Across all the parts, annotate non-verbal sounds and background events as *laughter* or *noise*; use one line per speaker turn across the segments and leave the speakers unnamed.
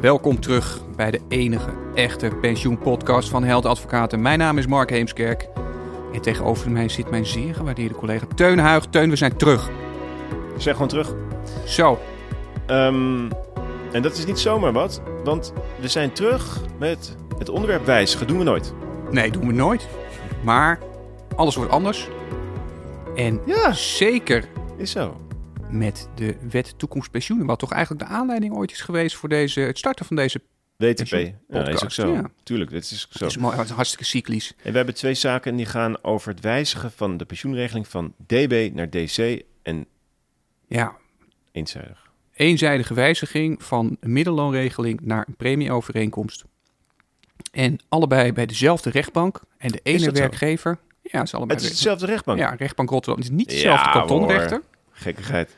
Welkom terug bij de enige echte pensioenpodcast van Held Advocaten. Mijn naam is Mark Heemskerk en tegenover mij zit mijn zeer gewaardeerde collega Teun Huig. Teun, we zijn terug.
Zeg gewoon terug.
Zo,
Ehm, en dat is niet zomaar wat, want we zijn terug met het onderwerp wijzigen. Doen we nooit.
nee, doen we nooit. Maar alles wordt anders. En
Ja,
zeker
is zo.
met de wet toekomst pensioenen, wat toch eigenlijk de aanleiding ooit is geweest voor deze, het starten van deze.
WTP.
Pensioen-
Ja, is ook
podcast,
zo.
ja.
Tuurlijk, dit is ook zo.
Het is mooi, het is hartstikke cyclisch.
En we hebben twee zaken en die gaan over het wijzigen van de pensioenregeling van DB naar DC en
Ja,
eenzijdig.
eenzijdige wijziging van een middelloonregeling naar een premieovereenkomst. En allebei bij dezelfde rechtbank. En de
Is
ene
dat zo?
werkgever. Ja, het is allebei.
Het is
werkbank.
dezelfde rechtbank.
Ja, rechtbank Rotterdam. Het is niet dezelfde
Ja,
kantonrechter.
Gekkigheid.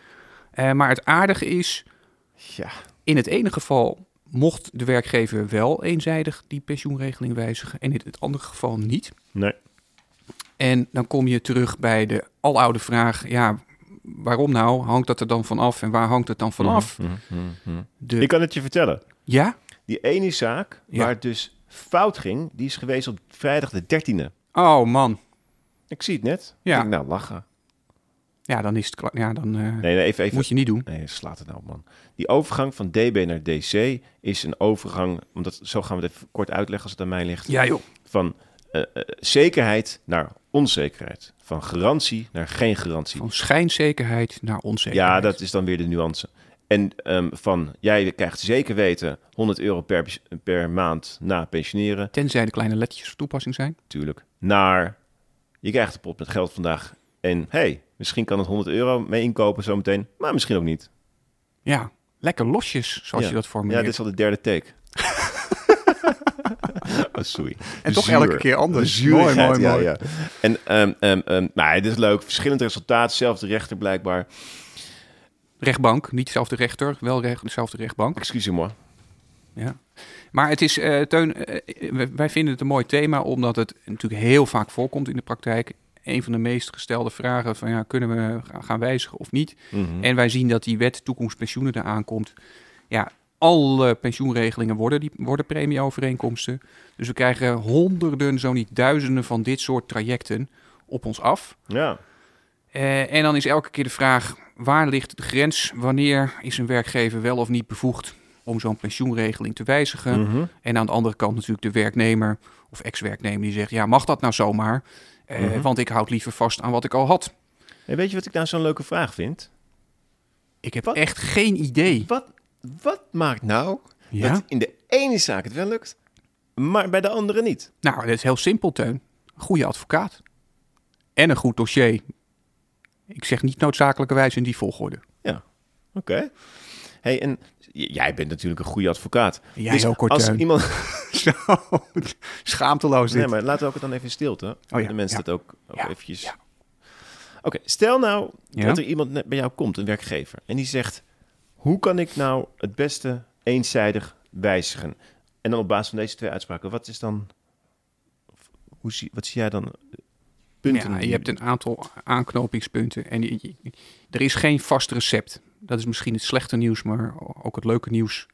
Eh, maar het aardige is,
Ja.
in het ene geval mocht de werkgever wel eenzijdig die pensioenregeling wijzigen. En in het andere geval niet.
Nee.
En dan kom je terug bij de aloude vraag. Ja, waarom nou? Hangt dat er dan van af? En waar hangt het dan vanaf?
Mhm, mhm, mhm.
De...
Ik kan het je vertellen.
Ja?
Die ene zaak
Ja.
waar het dus fout ging, die is geweest op vrijdag de 13e.
Oh man.
Ik zie het net.
Ja.
Ik denk, nou, lachen.
Ja, dan is het klaar. Ja, dan... eh,
Nee, nee even, even.
Moet je niet doen.
Nee, slaat het nou op, man. Die overgang van DB naar DC is een overgang, omdat zo gaan we het even kort uitleggen als het aan mij ligt,
Ja, joh.
van eh, eh, zekerheid naar onzekerheid. Van garantie naar geen garantie.
Van schijnzekerheid naar onzekerheid.
Ja, dat is dan weer de nuance. En ehm, van, jij krijgt zeker weten 100 euro per, per maand na pensioneren,
Tenzij de kleine lettertjes van toepassing zijn.
natuurlijk, naar je krijgt een pot met geld vandaag en hey, misschien kan het 100 euro mee inkopen zometeen, maar misschien ook niet.
Ja, lekker losjes, zoals
Ja.
je dat
Ja,
formuleert.
dit is al de derde take. *laughs* oh, sorry.
En toch
Zuur.
elke keer anders.
De
Mooi,
zuurigheid,
mooi, mooi.
Ja, ja. En ehm ehm ehm, nou, ja, dit is leuk. Verschillend resultaat, zelfde rechter blijkbaar.
Rechtbank, niet dezelfde rechter, wel recht, dezelfde rechtbank.
Excuus me.
Ja. Maar het is, eh, Teun, eh, wij- wij vinden het een mooi thema, omdat het natuurlijk heel vaak voorkomt in de praktijk. Een van de meest gestelde vragen van ja, kunnen we ga- gaan wijzigen of niet?
Mhm.
En wij zien dat die wet toekomstpensioenen eraan komt. Ja, alle pensioenregelingen worden, die, worden premieovereenkomsten. Dus we krijgen honderden, zo niet duizenden van dit soort trajecten op ons af.
Ja.
Eh, en dan is elke keer de vraag, waar ligt de grens? Wanneer is een werkgever wel of niet bevoegd om zo'n pensioenregeling te wijzigen?
Mhm.
En aan de andere kant natuurlijk de werknemer of ex-werknemer die zegt, ja, mag dat nou zomaar? Eh,
Mhm.
Want ik houd liever vast aan wat ik al had.
En weet je wat ik nou zo'n leuke vraag vind?
Ik heb
Wat?
echt geen idee.
Wat, wat maakt nou
Ja?
dat in de ene zaak het wel lukt, maar bij de andere niet?
Nou, dat is heel simpel, Teun. Een goede advocaat. En een goed dossier. Ik zeg niet noodzakelijkerwijs in die volgorde.
Oké. Hey, en j- jij bent natuurlijk een goede advocaat.
Jij
dus
ook, hoor,
als
Teun.
iemand
*laughs* Zo, schaamteloos dit.
Nee, maar laten we ook het dan even in stilte. Oh,
ja,
de mensen
ja.
dat ook, ook
Ja,
eventjes...
ja.
Oké, stel nou
Ja.
dat er iemand net bij jou komt, een werkgever. En die zegt, hoe kan ik nou het beste eenzijdig wijzigen? En dan op basis van deze twee uitspraken, wat is dan... of Hoe zie, wat zie jij dan? eh, Punten.
Ja,
die-
je hebt een aantal aanknopingspunten. En je- je- er is geen vast recept. Dat is misschien het slechte nieuws, maar ook het leuke nieuws.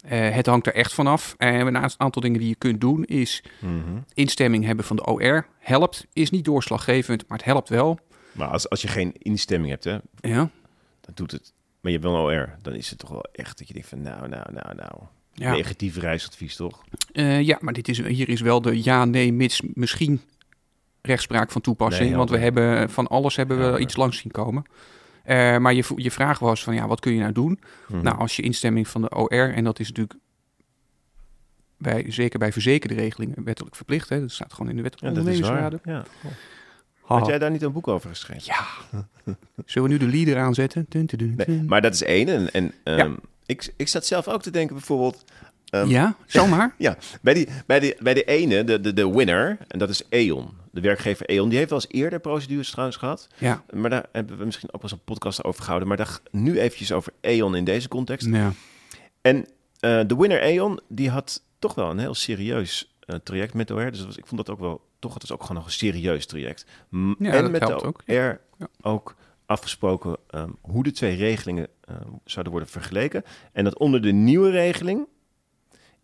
Eh, het hangt er echt vanaf. En een a- aantal dingen die je kunt doen is
Mhm.
instemming hebben van de OR. Helpt, is niet doorslaggevend, maar het helpt wel.
Maar als, als je geen instemming hebt, hè,
Ja,
dan doet het... Maar je hebt wel een OR. Dan is het toch wel echt dat je denkt van nou, nou, nou, nou.
ja.
Negatief reisadvies, toch?
Eh, ja maar dit is, hier is wel de ja, nee, mits, misschien rechtspraak van toepassing.
Nee,
want we
helder.
hebben eh, van alles hebben we
Helder.
iets langs zien komen. Eh, maar je, vo- je vraag was van ja, wat kun je nou doen?
Mhm.
Nou, als je instemming van de OR, en dat is natuurlijk bij, zeker bij verzekerde regelingen wettelijk verplicht, hè, dat staat gewoon in de wet op
ja, dat is waar.
ondernemingsraden.
Ja.
Ha.
Had jij daar niet een boek over geschreven?
Ja. Zullen we nu de leader aanzetten? Dun, dun, dun,
Nee,
dun.
maar dat is één. En, en ehm,
Ja.
ik, ik zat zelf ook te denken bijvoorbeeld... ehm,
ja,
*laughs*
zomaar?
Ja, bij die, bij die, bij die ene, de, de, de winner, en dat is E.ON. De werkgever E.ON, die heeft wel eens eerder procedures trouwens gehad.
ja.
Maar daar hebben we misschien ook wel eens een podcast over gehouden. Maar daar, nu eventjes over E.ON in deze context.
ja.
En eh, de winner E.ON, die had toch wel een heel serieus eh, traject met de OR. Dus dat was, ik vond dat ook wel, toch, het is ook gewoon nog een serieus traject. M-
Ja,
en
dat
met
helpt
de
ook,
OR
Ja.
ook afgesproken ehm, hoe de twee regelingen eh, zouden worden vergeleken. En dat onder de nieuwe regeling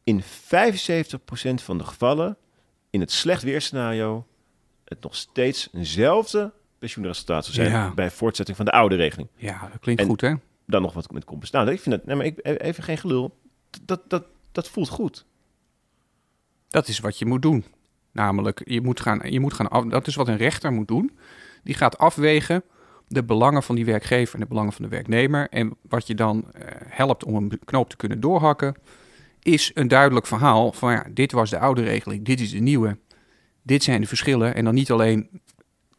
in 75% van de gevallen, in het slecht weerscenario, het nog steeds eenzelfde pensioenresultaat zou zijn
Ja.
bij voortzetting van de oude regeling.
Ja, dat klinkt
En-
goed, hè?
Dan nog wat met compensatie. Nou, ik vind dat, nee, maar ik, even geen gelul, dat, dat, dat voelt goed.
Dat is wat je moet doen. Namelijk, je moet gaan, je moet gaan af, dat is wat een rechter moet doen. Die gaat afwegen de belangen van die werkgever en de belangen van de werknemer. En wat je dan eh, helpt om een knoop te kunnen doorhakken, is een duidelijk verhaal van ja, dit was de oude regeling, dit is de nieuwe. Dit zijn de verschillen. En dan niet alleen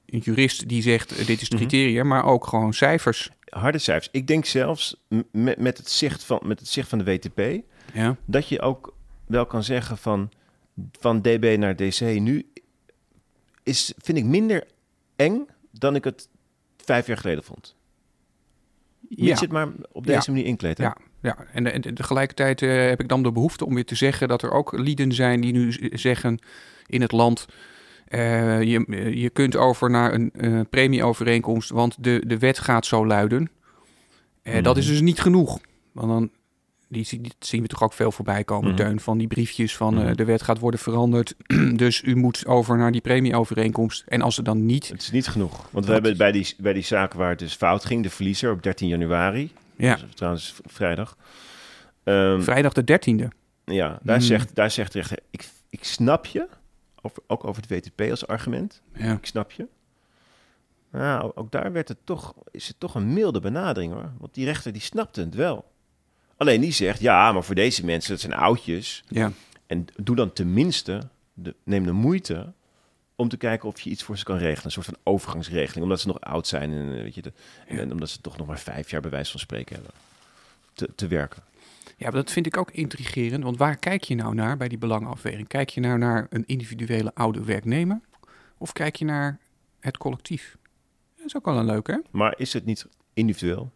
een jurist die zegt eh, dit is het
Mhm.
criterium, maar ook gewoon cijfers.
Harde cijfers. Ik denk zelfs m- met, met, het zicht van, met het zicht van de WTP,
Ja.
dat je ook wel kan zeggen van, van DB naar DC nu is, vind ik minder eng dan ik het vijf jaar geleden vond. Je
Ja.
zit maar op deze
Ja.
manier inkleedt. hè?
Ja, ja. En, en tegelijkertijd eh, heb ik dan de behoefte om weer te zeggen dat er ook lieden zijn die nu z- zeggen in het land. eh, je, eh, je kunt over naar een eh, premieovereenkomst, want de, de wet gaat zo luiden. Eh,
Mhm.
Dat is dus niet genoeg. Want dan, die, zie- die zien we toch ook veel voorbij komen,
Mhm.
Teun, van die briefjes van eh,
Mhm.
de wet gaat worden veranderd. *clears throat* dus u moet over naar die premieovereenkomst. En als ze dan niet,
Het is niet genoeg. Want we hebben bij die, bij die zaak waar het dus fout ging, de verliezer op 13 januari,
ja,
dat is trouwens v- vrijdag. Ehm,
vrijdag de 13e.
ja, daar,
Hmm.
zegt, daar zegt de rechter, ik, ik snap je, over, ook over het WTP als argument.
Ja.
Ik snap je. Nou, ook daar werd het toch, is het toch een milde benadering hoor. Want die rechter die snapte het wel. Alleen die zegt, ja, maar voor deze mensen, dat zijn oudjes.
Ja.
En doe dan tenminste, de, neem de moeite om te kijken of je iets voor ze kan regelen. Een soort van overgangsregeling, omdat ze nog oud zijn. En, eh, weet je, de-
Ja.
en omdat ze toch nog maar vijf jaar bij wijze van spreken hebben te, te werken.
Ja, maar dat vind ik ook intrigerend. Want waar kijk je nou naar bij die belangenafweging? Kijk je nou naar een individuele oude werknemer? Of kijk je naar het collectief? Dat is ook wel een leuke, hè?
Maar is het niet individueel?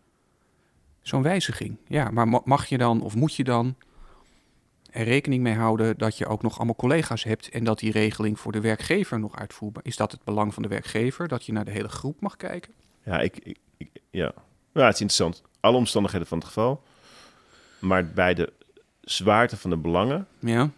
Zo'n wijziging. Ja, maar ma- mag je dan of moet je dan er rekening mee houden dat je ook nog allemaal collega's hebt en dat die regeling voor de werkgever nog uitvoerbaar is? dat het belang van de werkgever dat je naar de hele groep mag kijken?
Ja, ik, ik, ik- ja. ja, het is interessant. Alle omstandigheden van het geval. Maar bij de zwaarte van de belangen
Ja,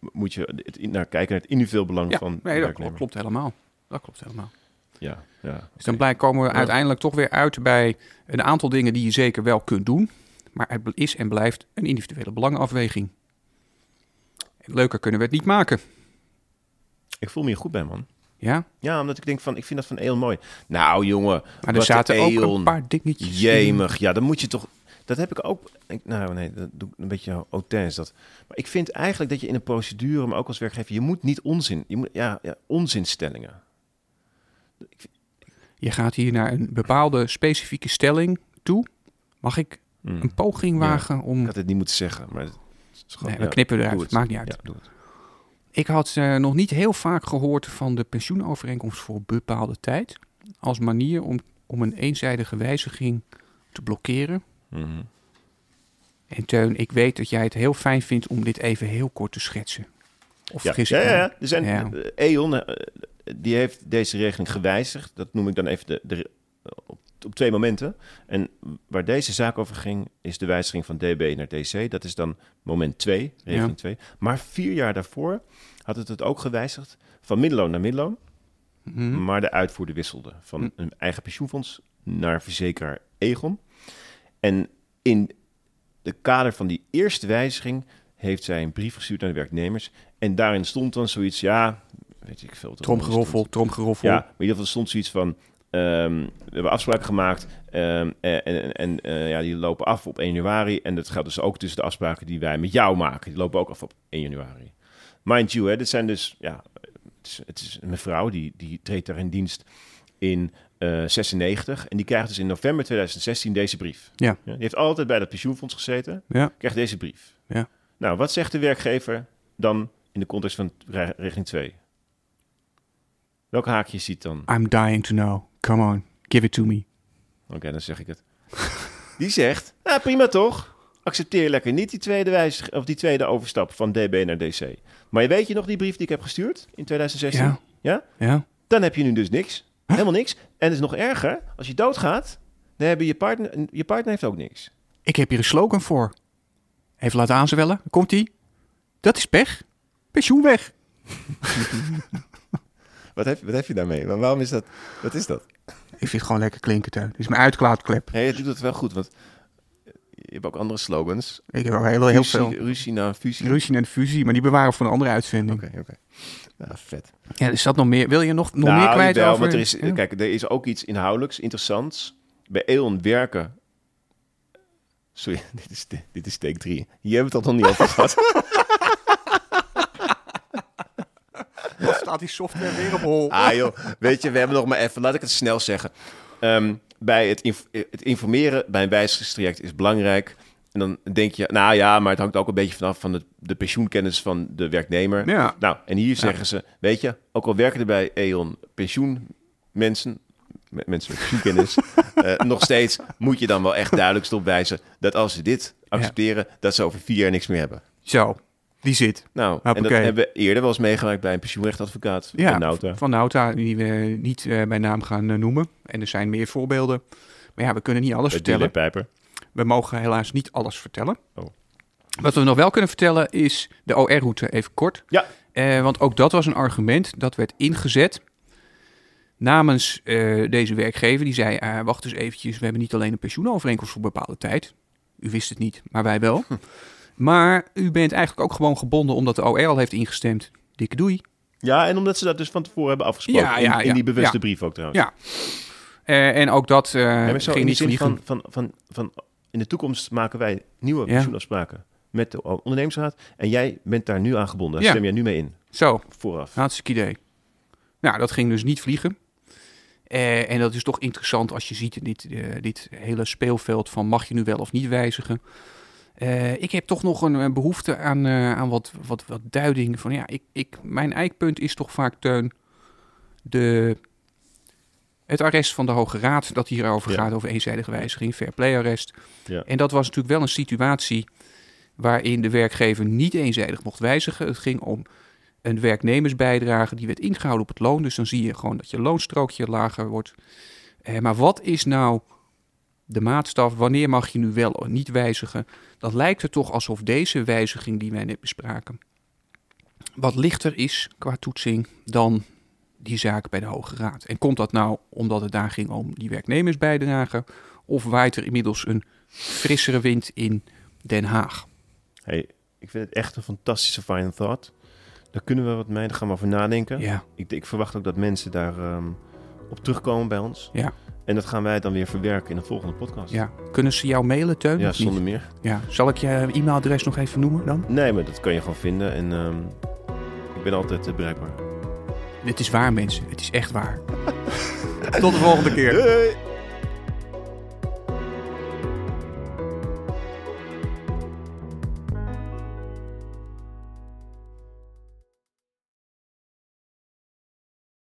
moet je het in- naar kijken naar het individueel belang
ja
van de
nee, dat
werknemer.
klopt helemaal. Dat klopt helemaal.
Ja, ja.
Dus dan blijk komen we
Ja.
uiteindelijk toch weer uit bij een aantal dingen die je zeker wel kunt doen. Maar het is en blijft een individuele belangenafweging. En leuker kunnen we het niet maken.
Ik voel me hier goed bij, man.
Ja,
Ja, omdat ik denk van, ik vind dat van Eon mooi. Nou, jongen.
maar er
wat
zaten ook
eon.
een paar dingetjes. in.
Jemig, ja, dan moet je toch... Dat heb ik ook... ik- nou, nee, dat doe ik een beetje hautaine is dat. Maar ik vind eigenlijk dat je in een procedure, maar ook als werkgever... Je moet niet onzin... Je moet, ja, ja, onzinstellingen.
Je gaat hier naar een bepaalde specifieke stelling toe. Mag ik
Hm.
een poging wagen om.
Ik had het niet moeten zeggen, maar... Het is gewoon,
Hm. Nee, we
ja.
knippen eruit.
Doe het.
Maakt niet uit.
Ja, doe het.
Ik had eh, nog niet heel vaak gehoord van de pensioenovereenkomst voor bepaalde tijd. Als manier om, om een eenzijdige wijziging te blokkeren.
Mhm.
En Teun, ik weet dat jij het heel fijn vindt om dit even heel kort te schetsen. Of
Ja.
vergis ik
ja, ja,
me?
ja. Er zijn,
Ja.
eh, E.ON eh, die heeft deze regeling gewijzigd. Dat noem ik dan even de, de, op, op twee momenten. En waar deze zaak over ging, is de wijziging van DB naar DC. Dat is dan moment 2,
Ja.
regeling 2. Maar vier jaar daarvoor had het het ook gewijzigd van middelloon naar middelloon.
Mhm.
Maar de uitvoerder wisselde van
Hm.
een eigen pensioenfonds naar verzekeraar Egon. En in het kader van die eerste wijziging heeft zij een brief gestuurd naar de werknemers. En daarin stond dan zoiets, ja, weet ik veel. wat er
Tromgeroffel,
stond.
tromgeroffel.
Ja, maar in ieder geval stond zoiets van, ehm, we hebben afspraken gemaakt ehm, en, en, en eh, ja, die lopen af op 1 januari. En dat geldt dus ook tussen de afspraken die wij met jou maken. Die lopen ook af op 1 januari. Mind you, hè, dit zijn dus, ja, het is, het is een mevrouw die, die treedt daar in dienst in eh 96. En die krijgt dus in november 2016 deze brief.
Ja.
die heeft altijd bij dat pensioenfonds gezeten.
Ja.
Krijgt deze brief.
Ja.
Nou, wat zegt de werkgever dan in de context van re- regeling 2? Welk haakje ziet dan?
I'm dying to know. Come on, give it to me.
Oké, dan zeg
*laughs*
ik het. Die zegt, nou prima toch. Accepteer lekker niet die tweede, wijzig, of die tweede overstap van DB naar DC. Maar je weet je nog die brief die ik heb gestuurd in 2016?
Ja. Ja?
Dan heb je nu dus niks. Helemaal niks. En het is nog erger, als je doodgaat, dan hebben je partner, je partner heeft ook niks.
Ik heb hier een slogan voor. heeft laten aanzwellen. Komt hij? Dat is pech. Pensioen weg.
Wat heb, wat heb je daarmee? Maar waarom is dat? Wat is dat?
Ik vind het gewoon lekker klinken, Teun. Dit is mijn uitklaatklep.
Nee, je doet het wel goed, want je hebt ook andere slogans.
Ik heb al Oh, heel, heel
Ruzie-
veel
Ruzie naar fusie.
ruzie en fusie, maar die bewaren we voor een andere uitzending.
Oké, oké. Nou, vet.
Ja, is dat nog meer? Wil je nog, nog
Nou,
meer kwijt
jawel,
over?
want er
*laughs*
is,
Ja.
Kijk, er is ook iets inhoudelijks, interessants. Bij Eon werken... Sorry, *laughs* dit is, de- dit is take 3. Hier hebben we het al nog niet over
*laughs*
gehad.
Dan staat die software weer op hol.
Ah joh, weet je, we hebben nog maar even... Laat ik het snel zeggen. Ehm, bij het, inf- het informeren bij een wijzigingstraject is belangrijk. En dan denk je, nou ja, maar het hangt ook een beetje vanaf van de, de pensioenkennis van de werknemer.
Ja.
Nou, en hier zeggen ze, weet je, ook al werken er bij E.ON pensioenmensen, me- mensen met *laughs* pensioenkennis, eh, nog steeds moet je dan wel echt duidelijk erop wijzen dat als ze dit accepteren, dat ze over vier jaar niks meer hebben.
Zo, die zit.
Nou, en
Hoppakee.
dat hebben we eerder wel eens meegemaakt bij een pensioenrechtadvocaat
Ja,
van Nauta.
Van Nauta, die we niet eh, bij naam gaan eh, noemen. En er zijn meer voorbeelden. Maar ja, we kunnen niet alles
Bij
vertellen.
Dylan Pijper.
We mogen helaas niet alles vertellen.
Oh.
Wat we nog wel kunnen vertellen is de OR-route even kort.
Ja.
Eh, want ook dat was een argument dat werd ingezet namens eh, deze werkgever. Die zei, eh, wacht eens eventjes, we hebben niet alleen een pensioenovereenkomst voor een bepaalde tijd. U wist het niet, maar wij wel.
Hm.
Maar u bent eigenlijk ook gewoon gebonden omdat de OR al heeft ingestemd. Dikke doei.
Ja, en omdat ze dat dus van tevoren hebben afgesproken.
Ja, ja,
in, in
ja.
die bewuste
Ja.
brief ook trouwens.
Ja, Eh, en ook dat eh
Ja, maar zo
ging
in de
niet
zin
vliegen.
van, van, van, van in de toekomst maken wij nieuwe
Ja.
pensioenafspraken met de ondernemingsraad. En jij bent daar nu aan gebonden. Daar
Ja.
stem jij nu mee in,
Zo,
vooraf.
Hartstikke idee. Nou, dat ging dus niet vliegen. Eh, en dat is toch interessant als je ziet dit, eh, dit hele speelveld van mag je nu wel of niet wijzigen. Eh, ik heb toch nog een, eh, behoefte aan, eh, aan wat, wat, wat duiding. Van, ja, ik, ik, mijn eikpunt is toch vaak, Teun, de, het arrest van de Hoge Raad dat hierover
Ja.
gaat, over eenzijdige wijziging, fair play arrest.
Ja.
En dat was natuurlijk wel een situatie waarin de werkgever niet eenzijdig mocht wijzigen. Het ging om een werknemersbijdrage die werd ingehouden op het loon. Dus dan zie je gewoon dat je loonstrookje lager wordt. Eh, maar wat is nou de maatstaf? Wanneer mag je nu wel of niet wijzigen? Dat lijkt er toch alsof deze wijziging die wij net bespraken... wat lichter is qua toetsing dan die zaak bij de Hoge Raad. En komt dat nou omdat het daar ging om die werknemersbijdrage... of waait er inmiddels een frissere wind in Den Haag?
Hey, ik vind het echt een fantastische final thought. Daar kunnen we wat mee, daar gaan we over nadenken.
Ja,
Ik, ik verwacht ook dat mensen daar ehm, op terugkomen bij ons.
Ja.
En dat gaan wij dan weer verwerken in een volgende podcast.
ja. Kunnen ze jou mailen, Teun?
Ja,
of niet?
zonder meer.
Ja, zal ik je e-mailadres nog even noemen dan?
Nee, maar dat kan je gewoon vinden. En ehm, ik ben altijd eh, bereikbaar. *laughs*
Het is waar, mensen. Het is echt waar. Tot de volgende keer.
Doei!